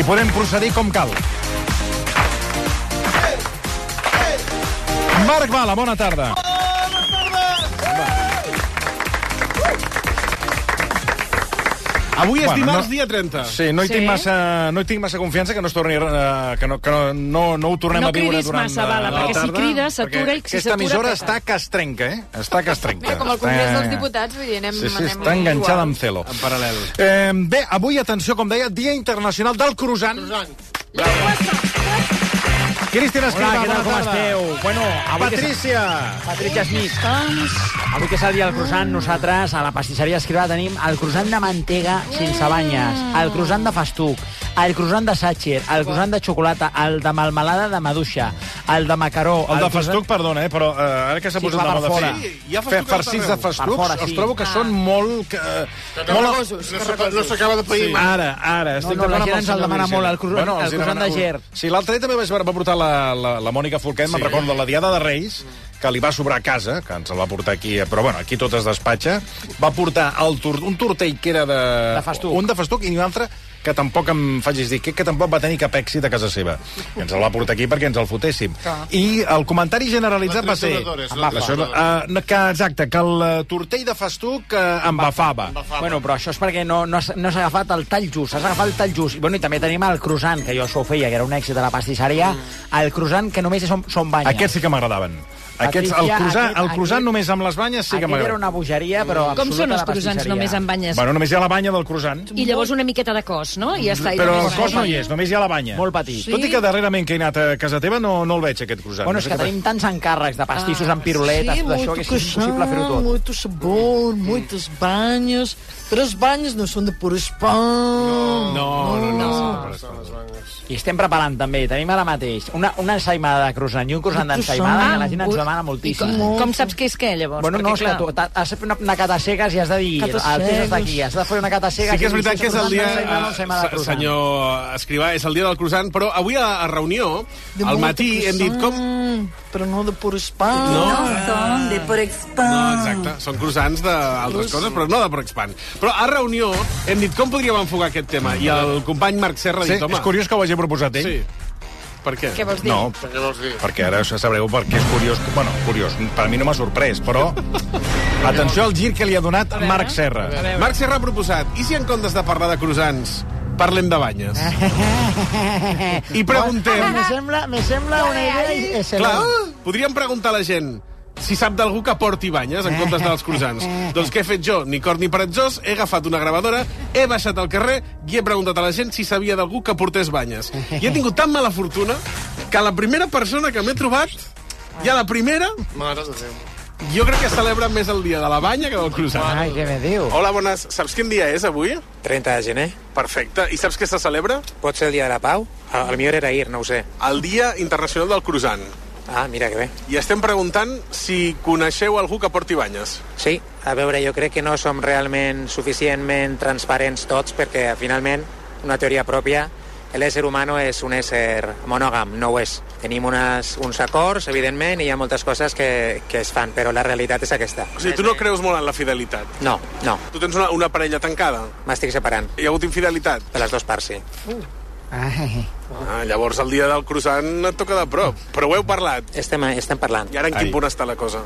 i podem procedir com cal. Marc Bala, bona tarda. Avui és Bueno, dimarts, no- dia 30. Sí, no hi, Sí? sí? Tinc massa, no hi tinc massa confiança que no es torni, eh, que no, que no, no, no ho tornem No a viure cridis durant eh, massa, Bala, la perquè si tarda, crida, s'atura perquè i si Aquesta s'atura, emissora peta. està que es trenca, eh? Està que es trenca. Eh. Mira, com el Congrés Està- dels Diputats, vull dir, anem... Sí, sí, anem està enganxada amb celo. En paral·lel. Eh, bé, avui, atenció, com deia, Dia Internacional del Cruzant. Cristina Hola, Escriba, què tal, bona com tarda. esteu? Bueno, avui que, és, Patricia. Patricia Smith. avui que és el dia del croissant, nosaltres a la pastisseria Escrivà tenim el croissant de mantega sense banyes, el croissant de festuc, el croissant de sàtxer, el croissant de xocolata, el de melmelada de maduixa, el de El macaró... de croissant- festuc, perdona, eh, però eh, ara que s'ha Sí, posat va de per moda fora. fer, Sí, hi ha fer festucs farcits de arreu. festucs, Per fora, els sí. trobo que són molt... Que, eh, molt No s'acaba de pair. Ara, ara, estic no, la d'acord amb gent el ens el senyor demana Vicent. molt, el cru- el els hi croissant demana de Ger. molt. Sí, l'altre dia també vaig veure- va portar la, la, la Mònica Folquet, sí. me'n recordo, la Diada de Reis, que li va sobrar a casa, que ens el va portar aquí, eh, però bueno, aquí tot es despatxa, va portar el tor un tortell que era de... De festuc. Un de festuc i un altre que tampoc em facis dir que, que tampoc va tenir cap èxit a casa seva. I ens el va portar aquí perquè ens el fotéssim. I el comentari generalitzat va ser... L'atresoradores, Eh, Uh, que, exacte, que el eh, tortell de festuc uh, embafava. Bueno, però això és perquè no, no, has, no has agafat el tall just, has agafat el tall just. I, bueno, I també tenim el croissant, que jo això ho feia, que era un èxit a la pastisseria, el croissant que només són, són banyes. Aquests sí que m'agradaven. Aquests, el Patricia, croissant, aquest- el croissant aquest- només amb les banyes sí que Aquell era m'agrada. una bogeria, però absoluta Com són de els la croissants pastisseria. només amb banyes? Bueno, només hi ha la banya del croissant, I llavors una miqueta de cos, no? I ja està. i Mm, però només el cos banyes. no hi és, només hi ha la banya. Molt petit. Tot i que darrerament que he anat a casa teva no, no el veig, aquest croissant. Bueno, no és sé que què tenim tants encàrrecs de pastissos amb piruletes, Ah, Sí, tot muito això, que és impossible fer-ho croissant, tot. Muito sabor, muitos banhos. Però els banhos no són de puro espam. No, no, no. I estem preparant també, tenim ara mateix una, una ensaïmada de croissant i un croissant d'ensaïmada que la gent ens demana I com, moltíssim. com saps què és què, llavors? Bueno, no, és que tu t'ha- has de fer una, una cata a cegues i has de dir, el Cata temps cegues. està aquí, has de fer una cata a cegues. Sí que és i dir, veritat que és el dia... ensaïmada, ensaïmada de eh, croissant. Senyor Escrivà, és el dia del croissant, però avui a, a reunió, De al muito matí, hem dit com... croissant, Però no de puro espam. No, son de por no, expand. exacte, són croissants d'altres coses, però no de Proexpan. Però a reunió hem dit com podríem enfocar aquest tema, i el company Marc Serra ha Sí, dit, home... és curiós que ho hagi proposat ell. Sí. Per què? Què vols dir? No, perquè ara sabreu per què és curiós. que- Bueno, curiós, per mi no m'ha sorprès, però... Atenció al gir que li ha donat Marc Serra. Marc Serra ha proposat, i si en comptes de parlar de croissants, parlem de banyes? I preguntem... Me sembla, me sembla una idea Clar, excel·lent. podríem preguntar a la gent si sap d'algú que porti banyes en comptes dels croissants. doncs què he fet jo? Ni cor ni paratjós, he agafat una gravadora, he baixat al carrer i he preguntat a la gent si sabia d'algú que portés banyes. I he tingut tan mala fortuna que la primera persona que m'he trobat, ja la primera, jo crec que celebra més el dia de la banya que del croissant. Ai, què me diu? Hola, bones. Saps quin dia és avui? 30 de gener. Perfecte. I saps què se celebra? Pot ser el dia de la pau? A- El millor era ahir, no ho sé. El Dia Internacional del Croissant. Ah, mira que bé. I estem preguntant si coneixeu algú que porti banyes. Sí, a veure, jo crec que no som realment suficientment transparents tots perquè, finalment, una teoria pròpia, l'ésser humano és un ésser monògam, no ho és. Tenim unes, uns acords, evidentment, i hi ha moltes coses que, que es fan, però la realitat és aquesta. O sigui, tu no creus molt en la fidelitat. No, no, Tu tens una, una parella tancada. m'estic separant. Hi ha hagut infidelitat. De les dues parts, sí. Ai. Ah, llavors el dia del croissant et toca de prop. Però ho heu parlat. Estem, estem parlant, I ara en quin Ai. punt està la cosa?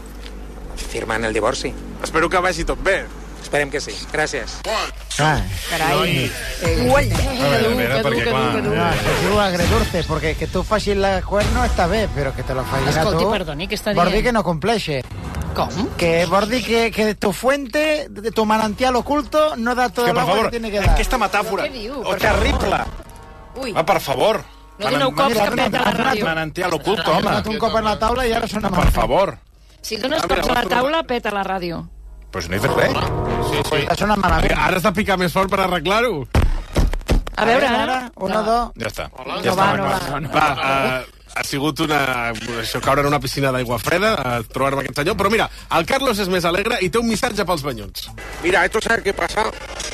firmant el divorci. Espero que vagi tot bé. Esperem que sí. Gràcies. Ah. Ai. Carai. Guai. A veure, a veure, perquè clar... No, es que tú agredulces, porque que tú fácil la cuerno esta vez, pero que te lo falles Escolti, tú. perdoni, què està Por dir dient? que no complexe. Com? Que por dir que, que tu fuente, de tu manantial oculto, no da todo Que, el per agua favor, que tiene que dar. aquesta metàfora... Però què diu? Oh, terrible! Ui, Va, per favor. No doneu cops que peta la ràdio. Manantial oculto, Has donat home. un cop en la taula y ahora suena Per mal. favor. Si dones cops a la taula, peta la ràdio. Però si no he fet res. Te Suena malament. Ara has de picar més fort per arreglar-ho. A veure, ara... Uno, dos... Ja està. Hola. No Ja va, està. no va. Va, uh, ha sigut una... Això, caure en una piscina d'aigua freda, a trobar-me aquest senyor. Però mira, el Carlos és més alegre i té un missatge pels banyuts. Mira, esto sabe qué pasa.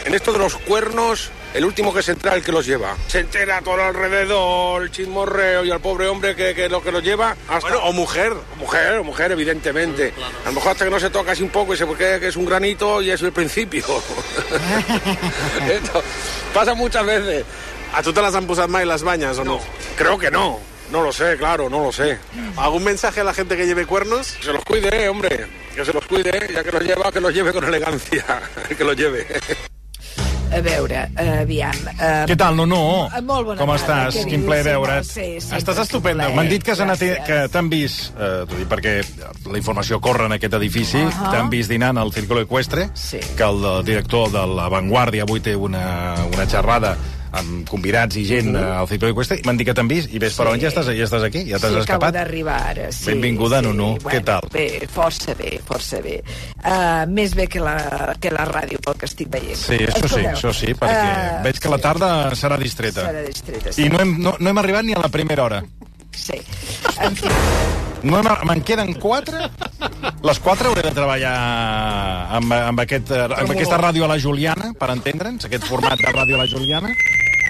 En esto de los cuernos, el último que se entera es el que los lleva. Se entera todo alrededor, el chismorreo y al pobre hombre que, que lo que los lleva. Hasta... Bueno, o mujer. mujer, o mujer, evidentemente. A lo mejor hasta que no se toca así un poco y se cree que es un granito y es el principio. esto pasa muchas veces. ¿A tu te las han posat mai, les banyes, o no? Creo que no. No lo sé, claro, no lo sé. ¿Algún mensaje a la gente que lleve cuernos? Que se los cuide, hombre. Que se los cuide, ya que los lleva, que los lleve con elegancia. Que los lleve. A veure, aviam... eh, Què tal, Nunu? Eh, molt bona Com tarda, estàs? què Quin dius? plaer veure't. Sí, sempre Estàs és un estupenda. plaer. M'han dit que, has anat, Gràcies. que t'han vist, eh, t'ho dic perquè la informació corre en aquest edifici, uh -huh. t'han vist dinant al Círculo Equestre, Sí. que el, eh, director de La Vanguardia avui té una, una xerrada amb convidats i gent uh -huh. al Círculo Equestre, i m'han dit que t'han vist, i ves, però ja estàs, ja estàs aquí, ja t'has sí, escapat. acabo d'arribar ara. Sí, Benvinguda, sí, Nunu. Bueno, Què tal? Bé, força bé, força bé. Uh, més bé que la, que la ràdio, pel que estic veient. Sí, això sí, això sí, perquè eh, veig que la tarda serà distreta. Serà distreta, I sí. no hem, no, no hem arribat ni a la primera hora. Sí. En fi, No em, me'n queden quatre? Les quatre hauré de treballar amb, amb, aquest, eh, amb aquesta ràdio a la Juliana, per entendre'ns, aquest format de ràdio a la Juliana,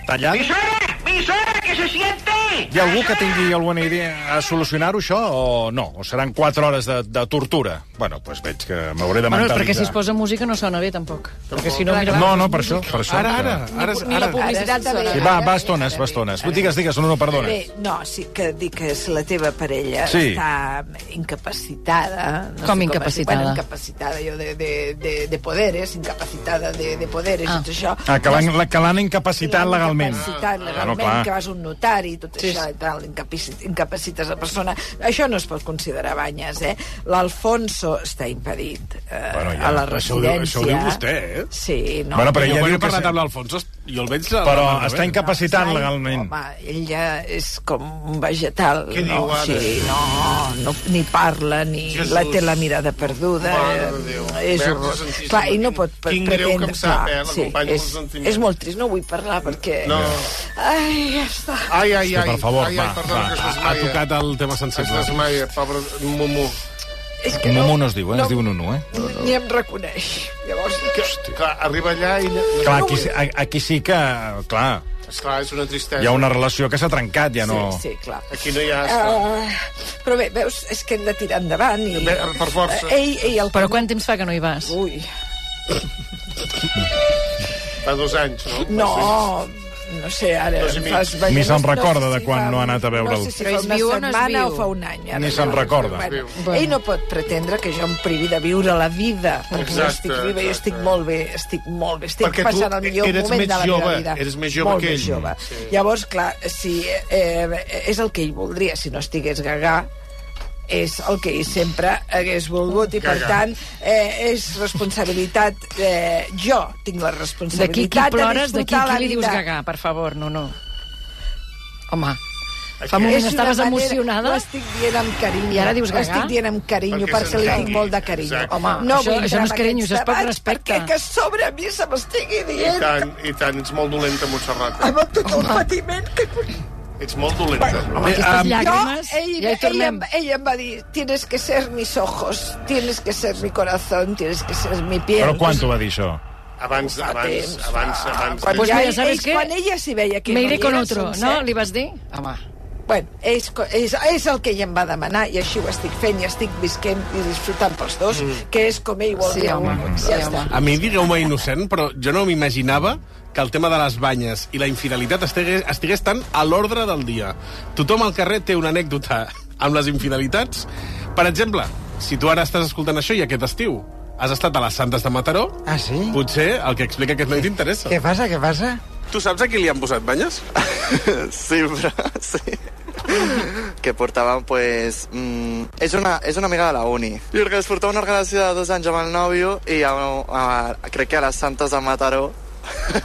tallat. ¡Misora! ¡Misora, que se siente! Hi ha algú que tingui alguna idea a solucionar-ho, això, o no? O seran quatre hores de, de tortura? Bueno, doncs veig que m'hauré de Bueno, és mentalitzar. perquè si es posa música no sona bé, tampoc. Perquè si no, mira... No, no, per això, per això. Ara, que- ara, ara, ni la ara. puc- Publicitat de Sí, va, va, estones, va, estones. Digues, digues, no, no, perdona. bé, no, sí que dic que és la teva parella Sí. està incapacitada. No Com sé incapacitada? Bueno, incapacitada, jo, de, de, de, de poderes, incapacitada de, de poderes Ah. i tot això. Ah, que l'han la- que l'han incapacitat legalment. Incapacitat legalment, Ah, no, clar. que vas a un notari i tot Sí, sí, això, i tal, incapacites, incapacites la persona. Això no es pot considerar banyes, eh? L'Alfonso està impedit eh, Bueno, bueno, ja, ja, a la això ho diu- residència. això ho diu vostè, eh? Sí, no. Bueno, però Jo ella quan diu he que parlat se- amb l'Alfonso, jo el veig... La, Però la- la- està incapacitat Ai, legalment. Home, ell ja és com un vegetal. Què no? diu ara? Sí, no, no, ni parla, ni Jesús. la té la mirada perduda. Eh, Mare de Déu. És Verge horror. Santíssima. Clar, i no pot pre- Quin greu que em pretendre... sap, clar, eh, la companya, sí, molt és, sentiment. és molt trist, no vull parlar perquè... No. Ai, ja està. Ai, ai, Hòstia, ai. per favor, ai, va, ai, perdona, va, que es ha- Ha, ha desmaia. tocat el tema Es sensible. desmaia, pobre Mumu. És Mumu no es diu, eh? Es diu Nunu, eh? Ni em reconeix. Llavors, Que, que arriba allà i... Clar, aquí, sí- a- aquí sí que, clar, Esclar, és una tristesa. hi ha una relació que s'ha trencat, ja no... Sí, sí, clar. Aquí no hi ha... Uh, però bé, veus, és que hem de tirar endavant i... Bé, per força. Ei, ei, el... Però quant temps fa que no hi vas? Ui, Fa dos anys, no? no... No sé, ara... Dos i em mig. fas ballar- Ni se'n no sé recorda de si quan fa no ha un- anat a No veure'l. sé si Però fa és una viu o no és setmana viu? o fa un any. Ara Ni no se'n recordo. recorda. Bueno, Bueno. Ell no pot pretendre que jo em privi de viure la vida. Perquè jo Exacte, estic viva i exacte. estic molt bé, estic molt bé. Estic Perquè tu passant el millor eres moment més de la meva jove, vida. eres més jove molt que Més ell. jove. Llavors, clar, si, eh, és el que ell voldria, si no estigués gagà, és el que ell sempre hagués volgut i, per tant, eh, és responsabilitat... Eh, jo tinc la D'aquí qui responsabilitat plores, de d'aquí disfrutar la qui li dius vida. gagà, per favor, no, no. Home, fa un moment És una estaves manera- emocionada. Ho estic dient amb carinyo. I ara dius Ho gaga? estic dient amb carinyo, Perquè perquè, se'n li tinc calli. molt de carinyo. Exacte. Home, això- vull això no és entrar en carinyo, això és aquests poc debats, respecte. Perquè que sobre mi se m'estigui I dient tant, i tant, ets molt dolenta, Montserrat. amb tot el patiment que... Ets molt dolenta. um, aquestes Jo, llàgrimes, ell, ja hi ell, tornem. em, ell em va dir, tienes que ser mis ojos, tienes que ser mi corazón, tienes que ser mi piel. Però quan t'ho va dir això? Abans, abans, temps, abans, abans... Quan, Pues ja, mira, ell- ¿sabes ell- qué? quan ella s'hi veia que Me no iré hi con era otro, sincer, no? Li vas dir? Home, Bueno, és, co- és, és el que ell em va demanar i així ho estic fent i estic visquent i disfrutant pels dos, mm. que és com ell vol Sí, dir. home, sí, ja home. està. A mi, digueu-me innocent, però jo no m'imaginava que el tema de les banyes i la infidelitat estigués, estigués tan a l'ordre del dia. Tothom al carrer té una anècdota amb les infidelitats. Per exemple, si tu ara estàs escoltant això i aquest estiu has estat a les Santes de Mataró, Ah, sí? potser el que explica aquest noi t'interessa. Què passa, què passa? Tu saps a qui li han posat banyes? Siempre, sí. que portaven, pues... Mm, és, una, és una amiga de la uni. I perquè es portava una relació de dos anys amb el nòvio i a, a, a, crec que a les Santes de Mataró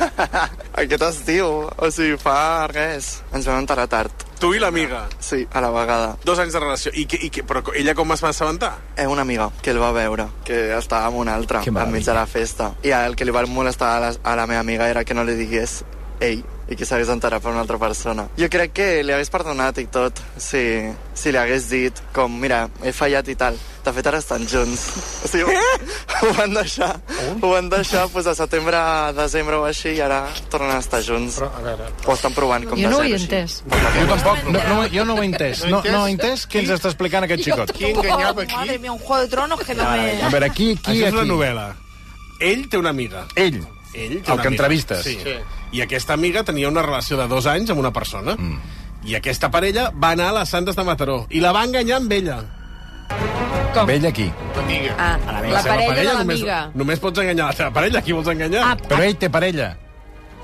aquest estiu, o sigui, fa res. Ens vam enterar tard, Tu i l'amiga. sí, a la vegada. Dos anys de relació. I, que, i que, però ella com es va assabentar? És una amiga que el va veure, que estava amb una altra, Que enmig de la festa. I el que li va molestar a la, a la meva amiga era que no li digués ell i que s'hagués enterat per una altra persona. Jo crec que li hagués perdonat i tot si, si li hagués dit com, mira, he fallat i tal. De fet, ara estan junts. O sigui, ho van deixar, ho van deixar pues, a setembre, a desembre o així, i ara tornen a estar junts. Però, a veure... Ho estan provant com jo de no ho ser, he així. entès. Jo tampoc, no, no, jo no ho he entès. No No, he entès? no he entès què ens està explicant aquest xicot. Qui enganyava aquí? Madre mía, un juego de tronos que no me... A veure, aquí, Qui aquí, Això és una aquí. novel·la. Ell té una amiga. Ell. Ell té una El que amiga. entrevistes. Sí. Sí. I aquesta amiga tenia una relació de dos anys amb una persona. Mm. I aquesta parella va anar a les Santes de Mataró i la va enganyar amb ella. Com? Vella aquí. L'amiga. Ah, A la, meva parella, de només, l'amiga. només pots enganyar la teva parella, qui vols enganyar? Ah, Però ell té parella.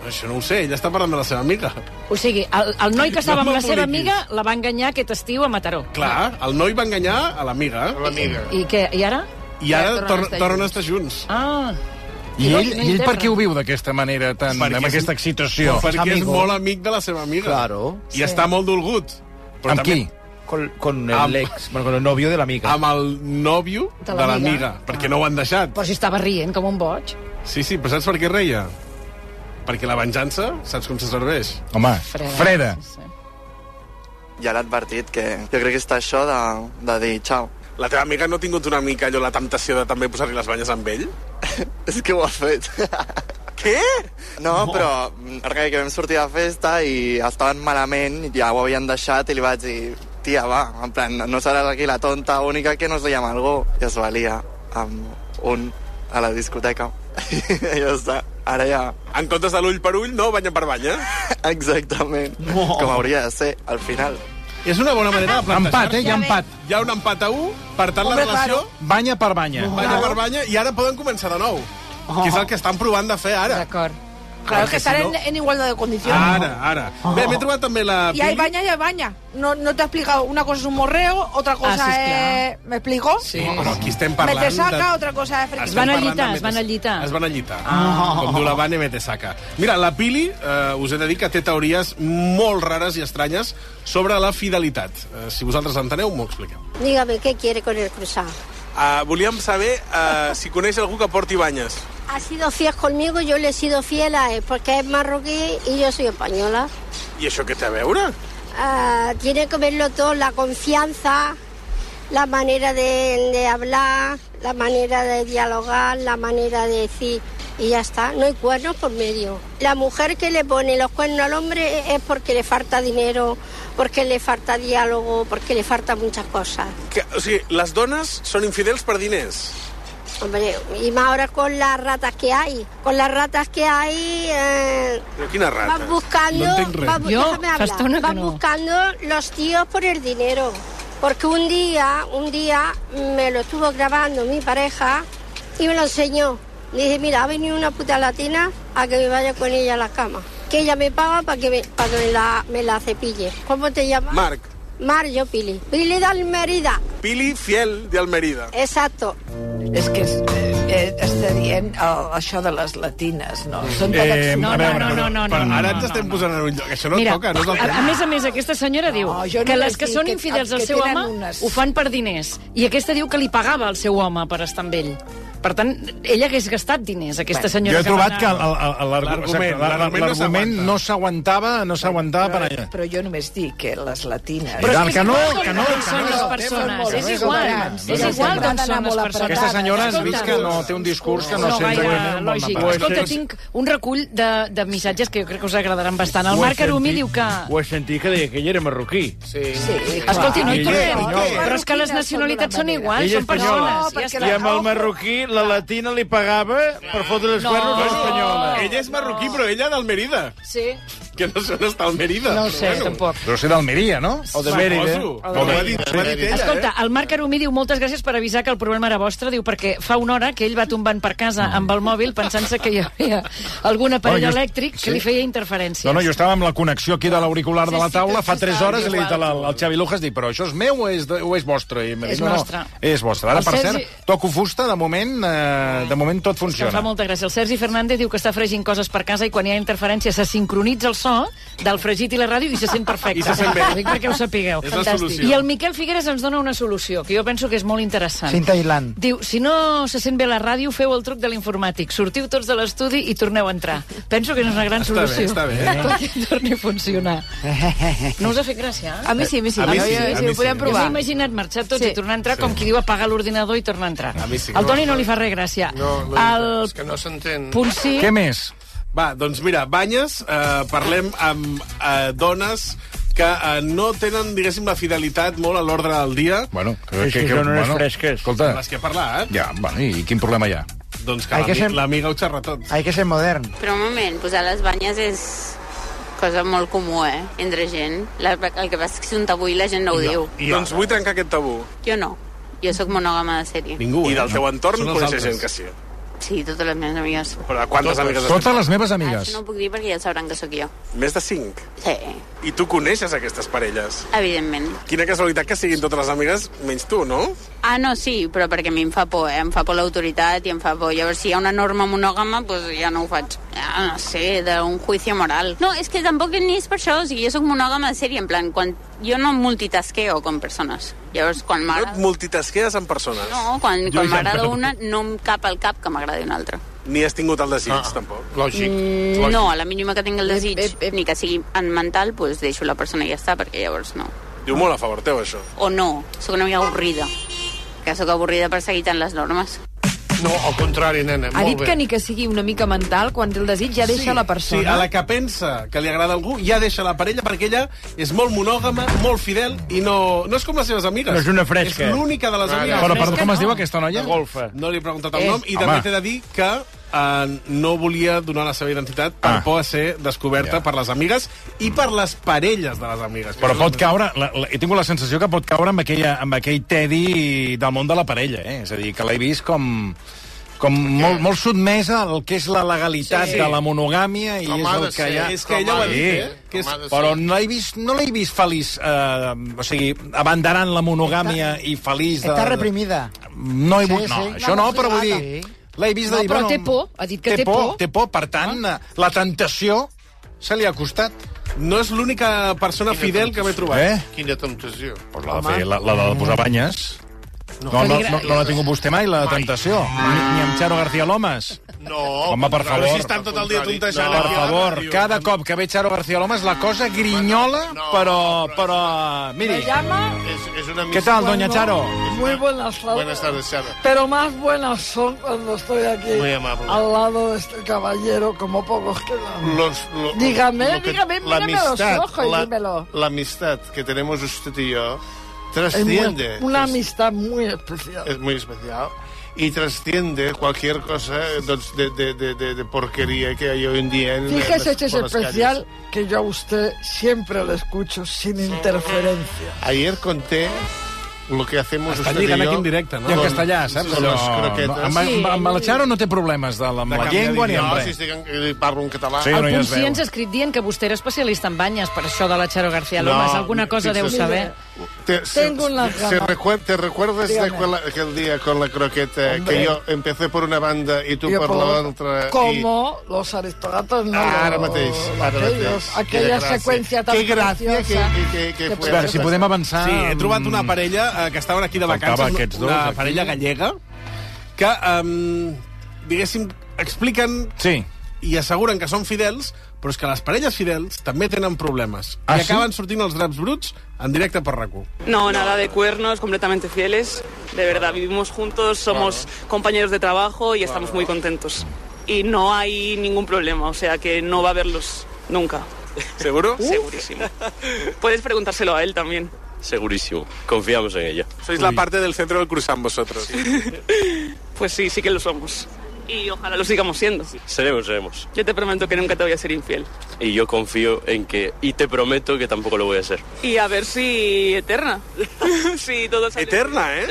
Això no ho sé, ella està parlant de la seva amiga. O sigui, el, el noi que estava No amb la seva m'emboliquis. amiga la va enganyar aquest estiu a Mataró. Clar, el noi va enganyar a l'amiga. A l'amiga. I què? I ara? I ara torn- tornen a estar junts. Ah, I No, ell, no i ell per interna. què ho viu d'aquesta manera, tan, Perquè amb és- aquesta excitació? Perquè és molt amic de la seva amiga. Claro. I està molt dolgut. Però Amb també- qui? Con, con el Amb- ex, bueno, con el novio de la amiga. Amb el nòvio De de l'amiga. l'amiga, perquè no ho han deixat. però si estava rient com un boig. Sí, sí, però saps per què reia? Perquè la venjança, saps com se serveix? Home, freda. Ja l'ha advertit que jo crec que està això de, de dir xau. La teva amiga no ha tingut una mica allò la temptació de també posar-li les banyes amb ell? És que ho ha fet. Què? No, però mm, res, que vam sortir de festa i estaven malament, ja ho havien deixat i li vaig dir tia, va, en plan, no seràs aquí la tonta única que no es deia amb algú. I es valia amb un a la discoteca. I ja està. Ara ja... En comptes de l'ull per ull, no banya per banya? Exactament. No. Com hauria de ser, al final. És una bona manera de plantejar-se. Empat, eh? Hi ha empat. Hi ha un empat a 1, per tant Hombre, la relació... claro. Banya per banya. Banya per banya, i ara poden començar de nou. Que és el que estan provant de fer ara. D'acord. Claro que Perquè si estar en, no- en igualdad de condiciones. Ara, ara. Bé, m'he trobat també la... Y hay Pili. baña y hay baña. No, no te ha explicado. Una cosa es un morreo, otra cosa sí, es... ¿Me explico? Sí. Però aquí estem parlant... me te saca, de- otra cosa es friki. Estem parlant de metes- allitar. Es van allitar. Ah. Com diu la Vane Metesaca. Mira, la Pili, eh, us he de dir que té teories molt rares i estranyes sobre la fidelitat. Eh, si vosaltres l'enteneu, m'ho expliqueu. Dígame, ¿qué quiere con el cruzado? Uh, volíem saber uh, si coneix algú que porti banyes. Ha sido fiel conmigo, yo le he sido fiel a él, porque es marroquí y yo soy española. I això què té a veure? Ah, tiene que verlo todo, la confianza, la manera de, de hablar, la manera de dialogar, la manera de decir, y ya está, no hay cuernos por medio. La mujer que le pone los cuernos al hombre es porque le falta dinero, porque le falta diálogo, porque le falta muchas cosas. Que, o sigui, les dones són infidels per diners. Hombre, y más ahora con las ratas que hay. Con las ratas que hay... Eh, Però quina rata? Van buscando, No entenc res. van bu- Jo, déjame hablar. fa estona que Van no. buscando los tíos por el dinero. Porque un día, un día me lo estuvo grabando mi pareja y me lo enseñó. Dije, mira, ha venido una puta latina a que me vaya con ella a la cama. Que ella me paga para que, me, pa' que me la, me la cepille. ¿Cómo te llamas? Marc, Mar, yo Pili. Pili de Almerida. Pili fiel de Almerida. Exacto. És que és, eh, està dient el, oh, això de les latines, no? Són tan Eh, absurdes. a veure, No, no, no, no, no, ara no, ens estem posant en un lloc. Això no Mira, toca, no és el a, tema. a més a més, aquesta senyora diu jo no que vaig les que dir són que- infidels al que seu tenen home unes- ho fan per diners. I aquesta diu que li pagava al seu home per estar amb ell. Per tant, ella hagués gastat diners, aquesta Jo senyora. he trobat que va anar- el- el- el- l'argu- L'argument, exacte, l'argument no l'argument s'aguanta. no s'aguantava, no s'aguantava Ah, per allà. Però jo només dic que les latines... Però és que Que no, és igual que no, que són no. les persones, és igual, és igual d'on són les persones. Aquesta senyora has Escolta. vist que no té un discurs que no, no sent gaire segurament molt lògic. mapat. Escolta, tinc un recull de, de missatges que jo crec que us agradaran bastant. El Ho he Marc Arumi sentit- diu que... Ho he sentit que deia que ell era marroquí. Sí. sí Escolti, no hi Ella- tornem, no. però és que les nacionalitats són iguals, Ella són persones. ja està. I amb el marroquí, la latina li pagava per fotre els No. cuernos a l'espanyola. Ella és marroquí, però ella d'Almerida. Sí. Que no sé on està Almerida. No ho sé, tampoc. Deu ser d'Almeria, no? O de Mérida. O de Mérida. Ho ha dit ella, Escolta, eh? el Marc Arumí diu moltes gràcies per avisar que el problema era vostre, diu perquè fa una hora que ell va tombant per casa Mm. amb el mòbil pensant-se que hi havia algun aparell Bueno, jo- elèctric que sí. li feia interferències. No, no, jo estava amb la connexió aquí de l'auricular de la taula fa 3 estava hores i li he dit al, igual. al Xavi Lujas, dic, però això és meu o és, de, o és vostre? I m'ha dit, És nostre. No, és vostre. Ara, El per Sergi- cert, toco fusta, de moment, eh, de moment tot Que em fa funciona. molta gràcia. El Sergi Fernández diu que està fregint coses per casa i quan hi ha interferència se sincronitza el so del fregit i la ràdio i se sent perfecte. I se sent bé. Ho dic perquè ho sapigueu. És la solució. I el Miquel Figueres ens dona una solució, que jo penso que és molt interessant. Cinta Island. Diu, si no se sent bé la ràdio, feu el truc de l'informàtic. Sortiu tots de l'estudi i torneu a entrar. Penso que és una gran Està bé, solució. està bé. eh? eh? Perquè torni a funcionar. No us ha fet gràcia? A mi sí, a mi sí. A mi sí, a mi ho sí. podem provar. Jo Sí. m'he imaginat marxar tots Sí. i tornar a entrar, com qui diu apagar l'ordinador i tornar a entrar. A mi sí que Al Toni no. no li fa res gràcia. No, no, el... és que no s'entén. punt sí. Què més? Va, doncs mira, banyes, eh, parlem amb eh, dones que eh, no tenen, diguéssim, la fidelitat molt a l'ordre del dia. Bueno, Sí, sí, són unes fresques. Escolta, Les que parlar, eh? ja, bueno, i quin problema hi ha? Doncs que Hay que l'ami- ser- l'amiga ho xerra tot. Hay que ser modern. Però un moment, posar les banyes és cosa molt comú, eh? Entre gent. La, el que passa és que és un tabú i la gent no ho diu. Doncs vull trencar aquest tabú. Jo no. Jo sóc monògama de sèrie. I eh? del teu entorn Són els coneixes altres. gent que sí. Sí, totes les meves amigues. Però quantes amigues has Totes les meves Això amigues. no ho puc dir perquè ja sabran que sóc jo. Més de 5. Sí, I tu coneixes aquestes parelles. evidentment. Quina casualitat que siguin totes les amigues, menys tu, no? Ah, no, sí, però perquè a mi em fa por, eh? Em fa por l'autoritat i em fa por. Llavors, si hi ha una norma monògama, doncs ja no ho faig. Ah, no sé, d'un juicio moral. No, és que tampoc ni és per això. O sigui, jo sóc monògama de sèrie, en plan, quan... jo no multitasqueo com persones. Llavors, quan No m'agrada... et multitasquees amb persones. No, quan, quan Lluís, m'agrada perdó. una, no em cap al cap que m'agradi una altra. Ni has tingut el desig, ah, tampoc. Mm, No, a la mínima que tingui Eh, el desig, ni que sigui en mental, doncs deixo la persona i ja està, perquè llavors no. Diu molt a favor teu, això. O no, sóc una mica avorrida. Que sóc avorrida per seguir tant les normes. No, al contrari, nena, Ha molt dit bé. que ni que sigui una mica mental, quan té el desig ja deixa la persona. Sí, a la que pensa que li agrada algú, ja deixa la parella perquè ella és molt monògama, molt fidel i no, no és com les seves amigues. No és una fresca. És l'única de les Vale. amigues. Bueno, perdó, com es diu aquesta noia? Golfa. No li he preguntat el Eh. nom i Home. també t'he de dir que eh, no volia donar la seva identitat Ah. per por a ser descoberta per les amigues i per les parelles de les amigues. Però pot caure, la, la, he tingut la sensació que pot caure amb, aquella, amb aquell tedi del món de la parella, eh? És a dir, que l'he vist com com molt, molt sotmesa al que és la legalitat Sí. sí. de la monogàmia i Com és ha el de que ser, hi ha... és que ella ho ha dit, eh? Que és- Que Com ha de és... ser. Però no l'he vist, no l'he vist feliç, eh, o sigui, abanderant la monogàmia i feliç... De... Está reprimida. No, hi... Sí, sí, no sí. això no, però vull dir... L'he vist de No, dir... però bueno, té por, ha dit que té por. Ah. Té por, per tant, la tentació se li ha costat. No és l'única persona fidel que m'he trobat. Eh? Quina temptació. Pues la de, fer, la, la de posar banyes. No, no, no, no, no l'ha tingut vostè mai, la tentació. Ni, ni amb Charo García Lomas. No, Home, per però favor. Si estan tot el dia tontejant Per aquí. favor, cada cop que ve Charo García Lomas la cosa grinyola, però... però miri, Me llama... És, és una què Ah, tal, doña Charo? Muy buenas tardes. Buenas tardes, Charo. Pero más buenas son cuando estoy aquí Muy amable. al lado de este caballero, como pocos quedan. Los, lo, Dígame, lo que- dígame, la mírame los amistad, ojos y la- dímelo. La amistad que tenemos usted y yo Es muy- trasciende. pues. una amistad muy especial. es muy especial y trasciende cualquier cosa doncs, de, de, de, de, de porquería que hay hoy en día. En Fíjese las- que es por las especial que yo a usted siempre le escucho sin interferencia. calles. Ayer conté lo que hacemos Estan usted y lligant yo aquí en directe, no? I en con castellà, saps? Los Allò, croquetes. amb, amb, amb la Charo no té problemes de, la- amb la llengua ni amb No, res. si estic en, eh, parlo en català. Sí, El no, ja punt es veu. 100 s'ha escrit dient que vostè era especialista en banyes, per això de la Charo García Lomas. No, Alguna cosa ¿eh? fixa't. deu saber. Te- se- Tengo una se gama. recuer- ¿Te recuerdas de Dígame. aquel, aquel día con la croqueta Hombre. que yo empecé por una banda y tú Yo por, por- la otra? y- ah, Como los aristócratas no. Ara mateix, ara mateix. aquellos, aquella Quina gràcia. secuencia tan Que gràcia, preciosa. que- que- que- que fue. A veure, si podem avançar... mm. Sí, he trobat una parella eh, que estaven aquí de Faltava vacances, aquests dos, una aquí. parella gallega, que, um, diguéssim, expliquen sí. i asseguren que són fidels, però és que les parelles fidels també tenen problemes. I Ah, sí? acaben sortint els draps bruts en directe per rac No, nada de cuernos, completamente fieles. De verdad, vivimos juntos, somos compañeros de trabajo y estamos muy contentos. Y no hay ningún problema, o sea que no va a haberlos nunca. ¿Seguro? Segurísimo. Puedes preguntárselo a él también. Segurísimo. Confiamos en ella. Sois la parte del centro del cruzán vosotros. Pues sí, sí que lo somos. Y ojalá lo sigamos siendo. Seremos, seremos. Yo te prometo que nunca te voy a ser infiel. Y yo confío en que... Y te prometo que tampoco lo voy a hacer. Y a ver si eterna. si todo sale Eterna, ¿eh?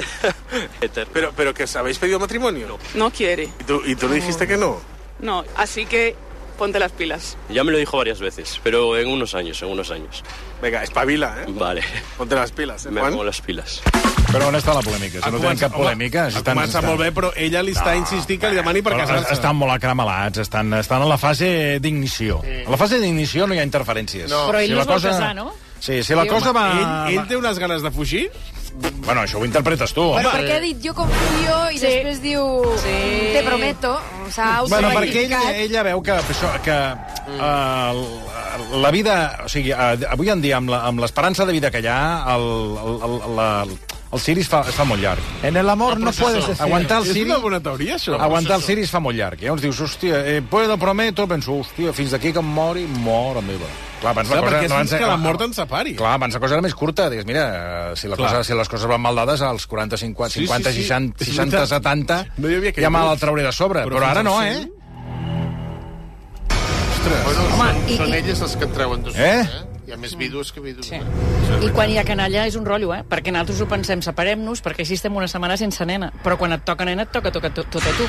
Eterna. Pero, pero que os habéis pedido matrimonio. No quiere. ¿Y tú, y tú le dijiste que no? No, así que ponte las pilas. Ya me lo dijo varias veces, pero en unos años, en unos años. Venga, espabila, ¿eh? Vale. Ponte las pilas, ¿eh, Me pongo las pilas. Però on està la polèmica? Ah, Si no tenen cap polèmica... si Home, estan- comença estan- molt bé, però ella li està insistint que li demani per Però casar-se. Estan molt acrimalats, estan, estan en la fase d'ignició. A la fase d'ignició no hi ha interferències. No. Però ell no es vol casar, no? Sí, si la cosa va... Ell, ell té unes ganes de fugir? Bueno, això ho interpretes tu. Però home. perquè ha dit jo confio i sí. després diu sí. te prometo. O sea, Bueno, perquè ella, ella veu que, això, que uh, la eh, vida... O sigui, uh, avui en dia, amb la- amb l'esperança de vida que hi ha, el, el, el, la, El Siri es fa, es fa molt llarg. En el amor no puedes decir... Aguantar el Siri... És una bona teoria, això. Aguantar el Siri es fa molt llarg. I llavors dius, hòstia, eh, puedo, prometo, penso, hòstia, fins d'aquí que em mori, mora meva. Clar, abans Clar, la cosa... perquè és fins que la mort ens separi. Clar, abans la cosa era més curta. Dius, mira, eh, si, la Clar. cosa, si les coses van mal dades, als 40, 50, Sí, sí, 50 sí. 60, És 60, veritat. 70, No hi havia ja me la caigut. trauré de sobre. Però Però, fins ara al no, cent? eh? Bueno, són, i- són i- elles les que et treuen dos. Eh? eh? Hi ha més vidus que vidus. Sí. I quan hi ha canalla és un rotllo, eh? Perquè nosaltres ho pensem, separem-nos, perquè així estem una setmana sense nena. Però quan et toca nena, et toca, toca to- tot a tu.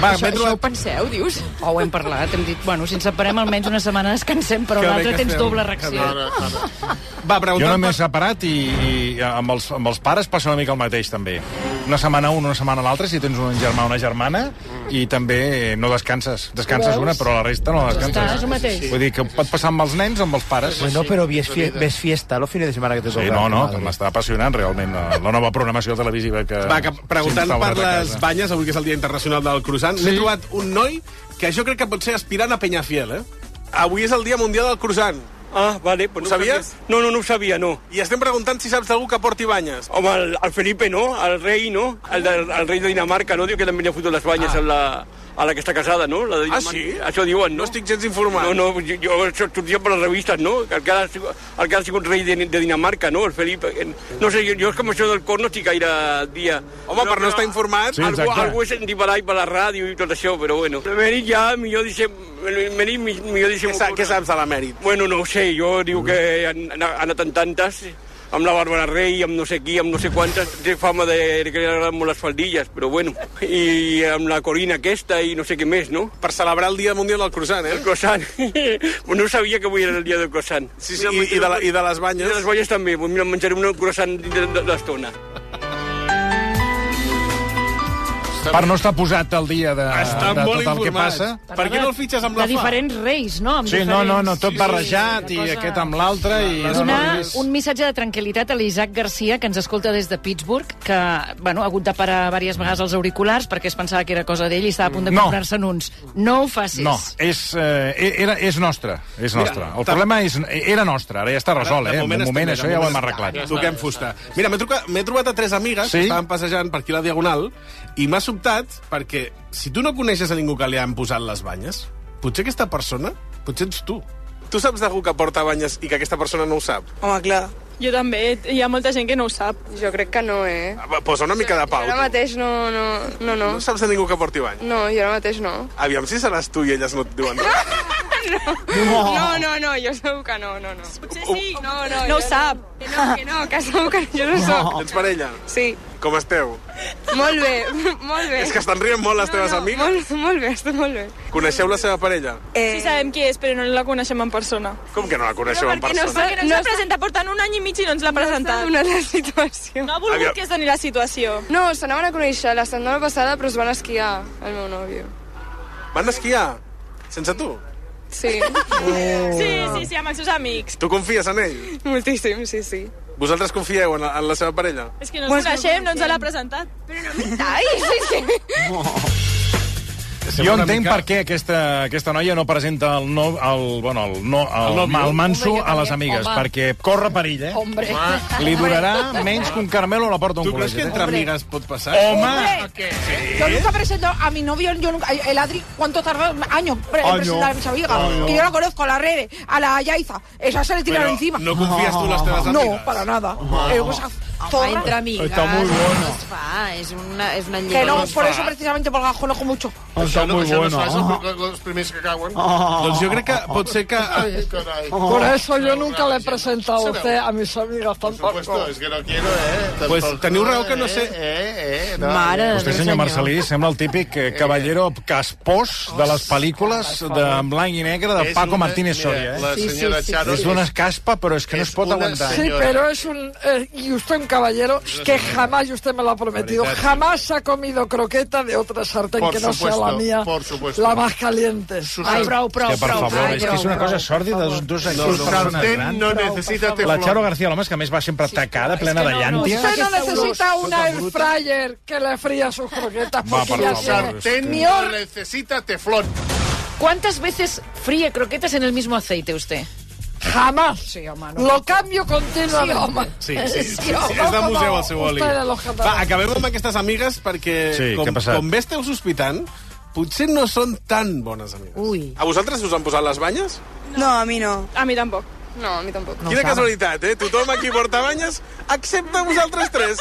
Va, això, això ho penseu, dius? O ho hem parlat, hem dit, bueno, si ens separem almenys una setmana descansem, però Que bé l'altra que tens fem. doble Que reacció. Ah, bé. Ara, Va, Jo no m'he separat i, i amb, els, amb els pares passa una mica el mateix, també. Una setmana un, una setmana l'altra, si tens un germà o una germana, Mm. i també eh, no descanses. Descanses Veus? una, però la resta no la Ja descanses. està, és el mateix. Vull dir que pot passar amb els nens, amb els pares. Bueno, pero ves, fie- ves fiesta los fines de semana que te toca. Sí, no, no, madre. com està apassionant realment la, la nova programació televisiva que... Va, que preguntant s'instaura per a les casa. banyes, avui que és el Dia Internacional del Croissant, sí. m'he trobat un noi que jo crec que pot ser aspirant a Penyafiel, eh? Avui és el Dia Mundial del Croissant. Ah, vale. Pues Ho sabies? No, no, no ho sabia, no. I estem preguntant si saps d'algú que porti banyes. Home, el, el Felipe, no? El rei, no? El, del, el rei de Dinamarca, no? Diu que també li ha fotut les banyes ah. a, la, a la que està casada, no? La de Ah, Dinamarca. sí? Això diuen, no? No estic gens informat. No, no, jo, jo això sortia per les revistes, no? El que ha, sigut- el que ha sigut rei de, de Dinamarca, no? El Felipe. En- No sé, jo, jo és com això del cor no estic gaire al dia. Home, per no estar informat- Sí, Sí, algú, exacte. algú he sentit per ahí, per la ràdio i tot això, però bueno. L'emèrit ja, millor deixem... L'emèrit, mi- millor deixem... Què, què saps de l'emèrit? Bueno, no ho sé, jo diu que han, han anat en tantes amb la Bàrbara Rey, amb no sé qui, amb no sé quantes, té fama de que li agraden molt les faldilles, però bueno, i amb la Corina aquesta i no sé què més, no? Per celebrar el Dia Mundial del Croissant, eh? El croissant. no sabia que avui era el dia del croissant. Sí, sí, i- i de la- i de les banyes. I de les banyes també, doncs mira, em menjaré un croissant d'estona. Per no estar posat al dia de, Està Eh, de molt tot el que informat. passa. Per què no el fitxes amb la de fa? diferents reis, no? Amb Sí, no, diferents... no, no, tot barrejat i la aquest amb l'altre i... no, no, Donar és- un missatge de tranquil·litat a l'Isaac Garcia que ens escolta des de Pittsburgh, que bueno, ha hagut de parar diverses vegades els auriculars perquè es pensava que era cosa d'ell i estava a punt de No. comprar-se'n uns. No ho facis. No, és, eh, era, és nostre, és Mira, nostre. el tam- problema és, era nostre, ara ja està resolt, eh? En un moment això ja ho hem arreglat. Toquem fusta. Mira, m'he truca- m'he trobat a tres amigues sí? que estaven passejant per aquí la Diagonal i m'ha sobtat perquè si tu no coneixes a ningú que li han posat les banyes, potser aquesta persona, potser ets tu. Tu saps d'algú que porta banyes i que aquesta persona no ho sap? Home, clar. Jo també. Hi ha molta gent que no ho sap. Jo crec que no, eh? Va, Posa una mica de pau. Jo ara mateix no, no, no, no. No saps de ningú que porti bany. No, jo ara mateix no. Aviam si seràs tu i elles no et diuen res. No, no, no, jo segur que no, no, no. Potser sí, no, no. No ho sap. Que no, que no, que segur que jo no ho soc. Tens parella? Sí, Com esteu? molt bé, molt bé. És que estan rient molt les teves amigues. Molt, molt bé, està molt bé. Coneixeu la seva parella? Eh... Sí sabem qui és, però no la coneixem en persona. Com que no la coneixeu en persona? no, no s'ha presentat portant un any i mig i no ens l'ha presentat. No la situació. No ha volgut Aviam. que es doni la situació. No, s'anaven a conèixer la setmana passada, però es van esquiar, el meu nòvio. Van esquiar? Sense tu? Sí. Sí, sí, sí, amb els seus amics. Tu confies en ell? Moltíssim, sí, sí. Vosaltres confieu en la, en la seva parella? És que no ens coneixem, no ens l'ha presentat. Però no m'entai, sí, sí. Jo entenc per què aquesta, aquesta noia no presenta el, no, el, bueno, el, no, El el, el, nòvio. manso Home, jo a les també, amigues, home. perquè corre perill, eh? Hombre. Li durarà menys que un caramelo a la porta d'un Tu creus col·legi. que entre eh? amigues pot passar? Home! Yo nunca presento a mi novio, yo nunca, el Adri, ¿cuánto tarda años pre- en Año. presentar a mis amigas? Año. Que yo la conozco, a la red, a la Yaiza, esa se le tiraron Pero, encima. ¿no confías tú en las teves amigas? No, para nada. Home. Eh, esa zorra. Home, entre amigas. Está muy bueno. Es fa, es una, es una Que no, llei. por eso precisamente por conozco mucho. Això, no, muy això bueno. no es fa, és els primers que cauen. Doncs jo crec que pot ser que... Ay, caray. Por eso yo nunca le he presentado a usted a mis amigas tampoco. Esto es que no quiero, eh. Tampoco, Pues teniu raó que no eh, sé. Eh, eh, no. Vostè, senyor Marcelí, sembla el típic eh, cavallero caspós de les pel·lícules de en blanc i negre de És Paco una- Martínez mira, Soria. la Eh? Sí, sí, senyora sí, Charo és és- una caspa, però és que no es pot aguantar. Sí, pero es un... eh, y usted un caballero que jamás, y usted me lo ha prometido, Verdad. jamás ha comido croqueta de otra sartén Por que no supuesto, sea la mía, por supuesto. la más caliente. Ai, prou, que, per favor, és que és una cosa sòrdida dels dos No, anys. no, Una persona vostè gran. no necessita La teflón. Charo García, l'home, és que a més va sempre tacada, plena de llànties. Usted no necesita una air fryer que le fría sus croquetas Va, porque por ya favor, tiene. usted. Mi hor- Necesita teflón. ¿Cuántas veces fríe croquetas en el mismo aceite usted? Jamás. Sí, home, no. Lo cambio continuamente. Sí, home. Sí, sí, sí, sí, home, és de com museu no. el seu oli. Ustedes los Va, catalanes. acabem amb aquestes amigues perquè, Sí, què ha com, passat? com bé esteu sospitant, potser no són tan bones amigues. Ui. A vosaltres us han posat les banyes? No, a mi no. A mi tampoc. No, a mi tampoc. Quina casualitat, eh? Tothom aquí porta banyes, excepte vosaltres tres.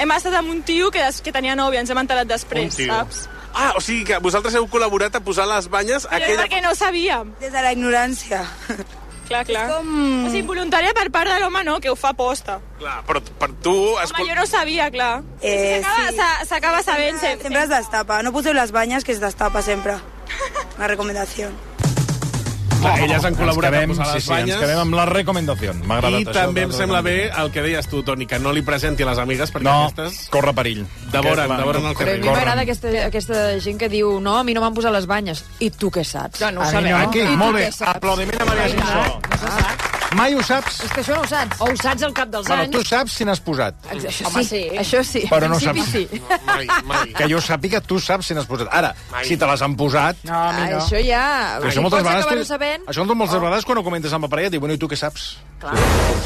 Hem estat amb un tio que, des, que tenia nòvia, ens hem enterat després, Un tio. saps? Ah, o sigui que vosaltres heu col·laborat a posar les banyes a Però és aquella... perquè no sabíem. Des de la ignorància. Clar, clar. És com... O sigui, voluntària per part de l'home no, que ho fa posta. Clar, però per tu... Es... Home, jo no sabia, clar. Eh, S'acaba- s'ha- S'acaba sabent... Sempre, Sempre es destapa. No poseu les banyes, que es destapa sempre. Una recomanació. Clar, elles han col·laborat quedem, a posar les sí, sí, ens banyes. quedem amb la recomendació. M'ha agradat I això. també em de- sembla bé el que deies tu, Toni, que no li presenti a les amigues, perquè No, aquestes... corre perill. Devoren, Aquesta- devoren el Però a carrer. mi m'agrada M'agrada aquesta, aquesta gent que diu no, a mi no m'han posat les banyes. I tu què saps? No, no ho A mi sabem. Aquí, I tu molt què bé. saps? Aplaudiment a Maria Ai, clar, Ginsó. Mai ho saps. És que això no ho saps. O ho saps al cap dels Bueno, tu saps si n'has posat. Això Home, sí. sí. Això sí. Però no En principi saps. Sí. Que jo sàpiga, tu saps si n'has posat. Ara, si te les han posat... No, Ah, Això ja... Però això moltes pots vegades... acabar-ho tu- sabent. Oh. Això moltes vegades quan ho comentes amb la parella et diu, bueno, i tu què saps? Clar.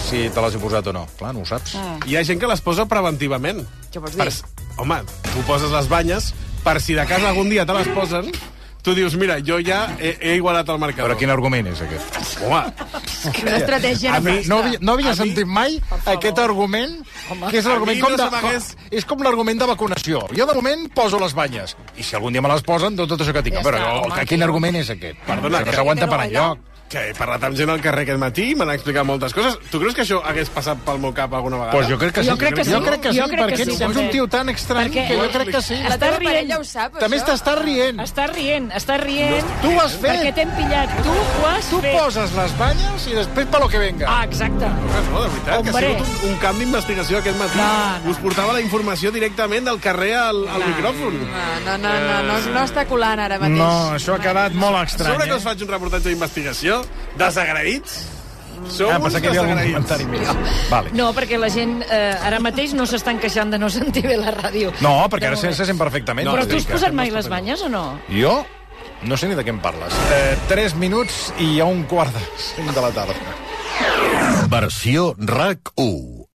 Si te les he posat o no. Clar, no ho saps. Mm. Hi ha gent que les posa preventivament. Què vols Per, home, tu poses les banyes per si de casa algun dia te les posen, tu dius, mira, jo ja he, he igualat el mercador. Però quin argument és aquest? Home, una estratègia a mi, nefasta. no havia, no havia A mi- sentit mai aquest argument, que és A l'argument mi com, no de, se m'hagués- com- és com l'argument de vacunació. Jo, de moment, poso les banyes. I si algun dia me les posen, doncs tot això que tinc. Ja Però està, jo, home. que, quin argument és aquest? Perdona, que no s'aguanta per enlloc. Que he parlat amb gent al carrer aquest matí i m'han explicat moltes coses. Tu creus que això hagués passat pel meu cap alguna vegada? Pues jo crec que sí. Jo crec que sí. Jo crec que sí, Jo crec que perquè sí, ets també. un tio tan estrany Perquè- que jo crec que sí. La teva parella ho sap, També això? t'estàs rient. Estàs rient, estàs rient. Tu ho has fet. Perquè t'hem pillat. Tu ho has Tu fet. poses les banyes i després per lo que venga. Ah, exacte. No, de veritat, que ha Hombre. sigut un, un camp d'investigació aquest matí. No, no. Us portava la informació directament del carrer al, al micròfon. No, no, no, no, no està colant ara mateix. No, això ha quedat molt A estrany. eh? sobre que us faig un reportatge d'investigació, desagraïts, sou Ah, ah, uns pensava que hi havia algun desagraïts. Vale. No, perquè la gent eh, ara mateix no s'estan queixant de no sentir bé la ràdio. No, perquè ara se, se sent perfectament. Però Vull tu dir has que- posat mai les banyes o no? Jo? No sé ni de què em parles. Eh, tres minuts i a un quart de cinc de la tarda. Versió RAC 1.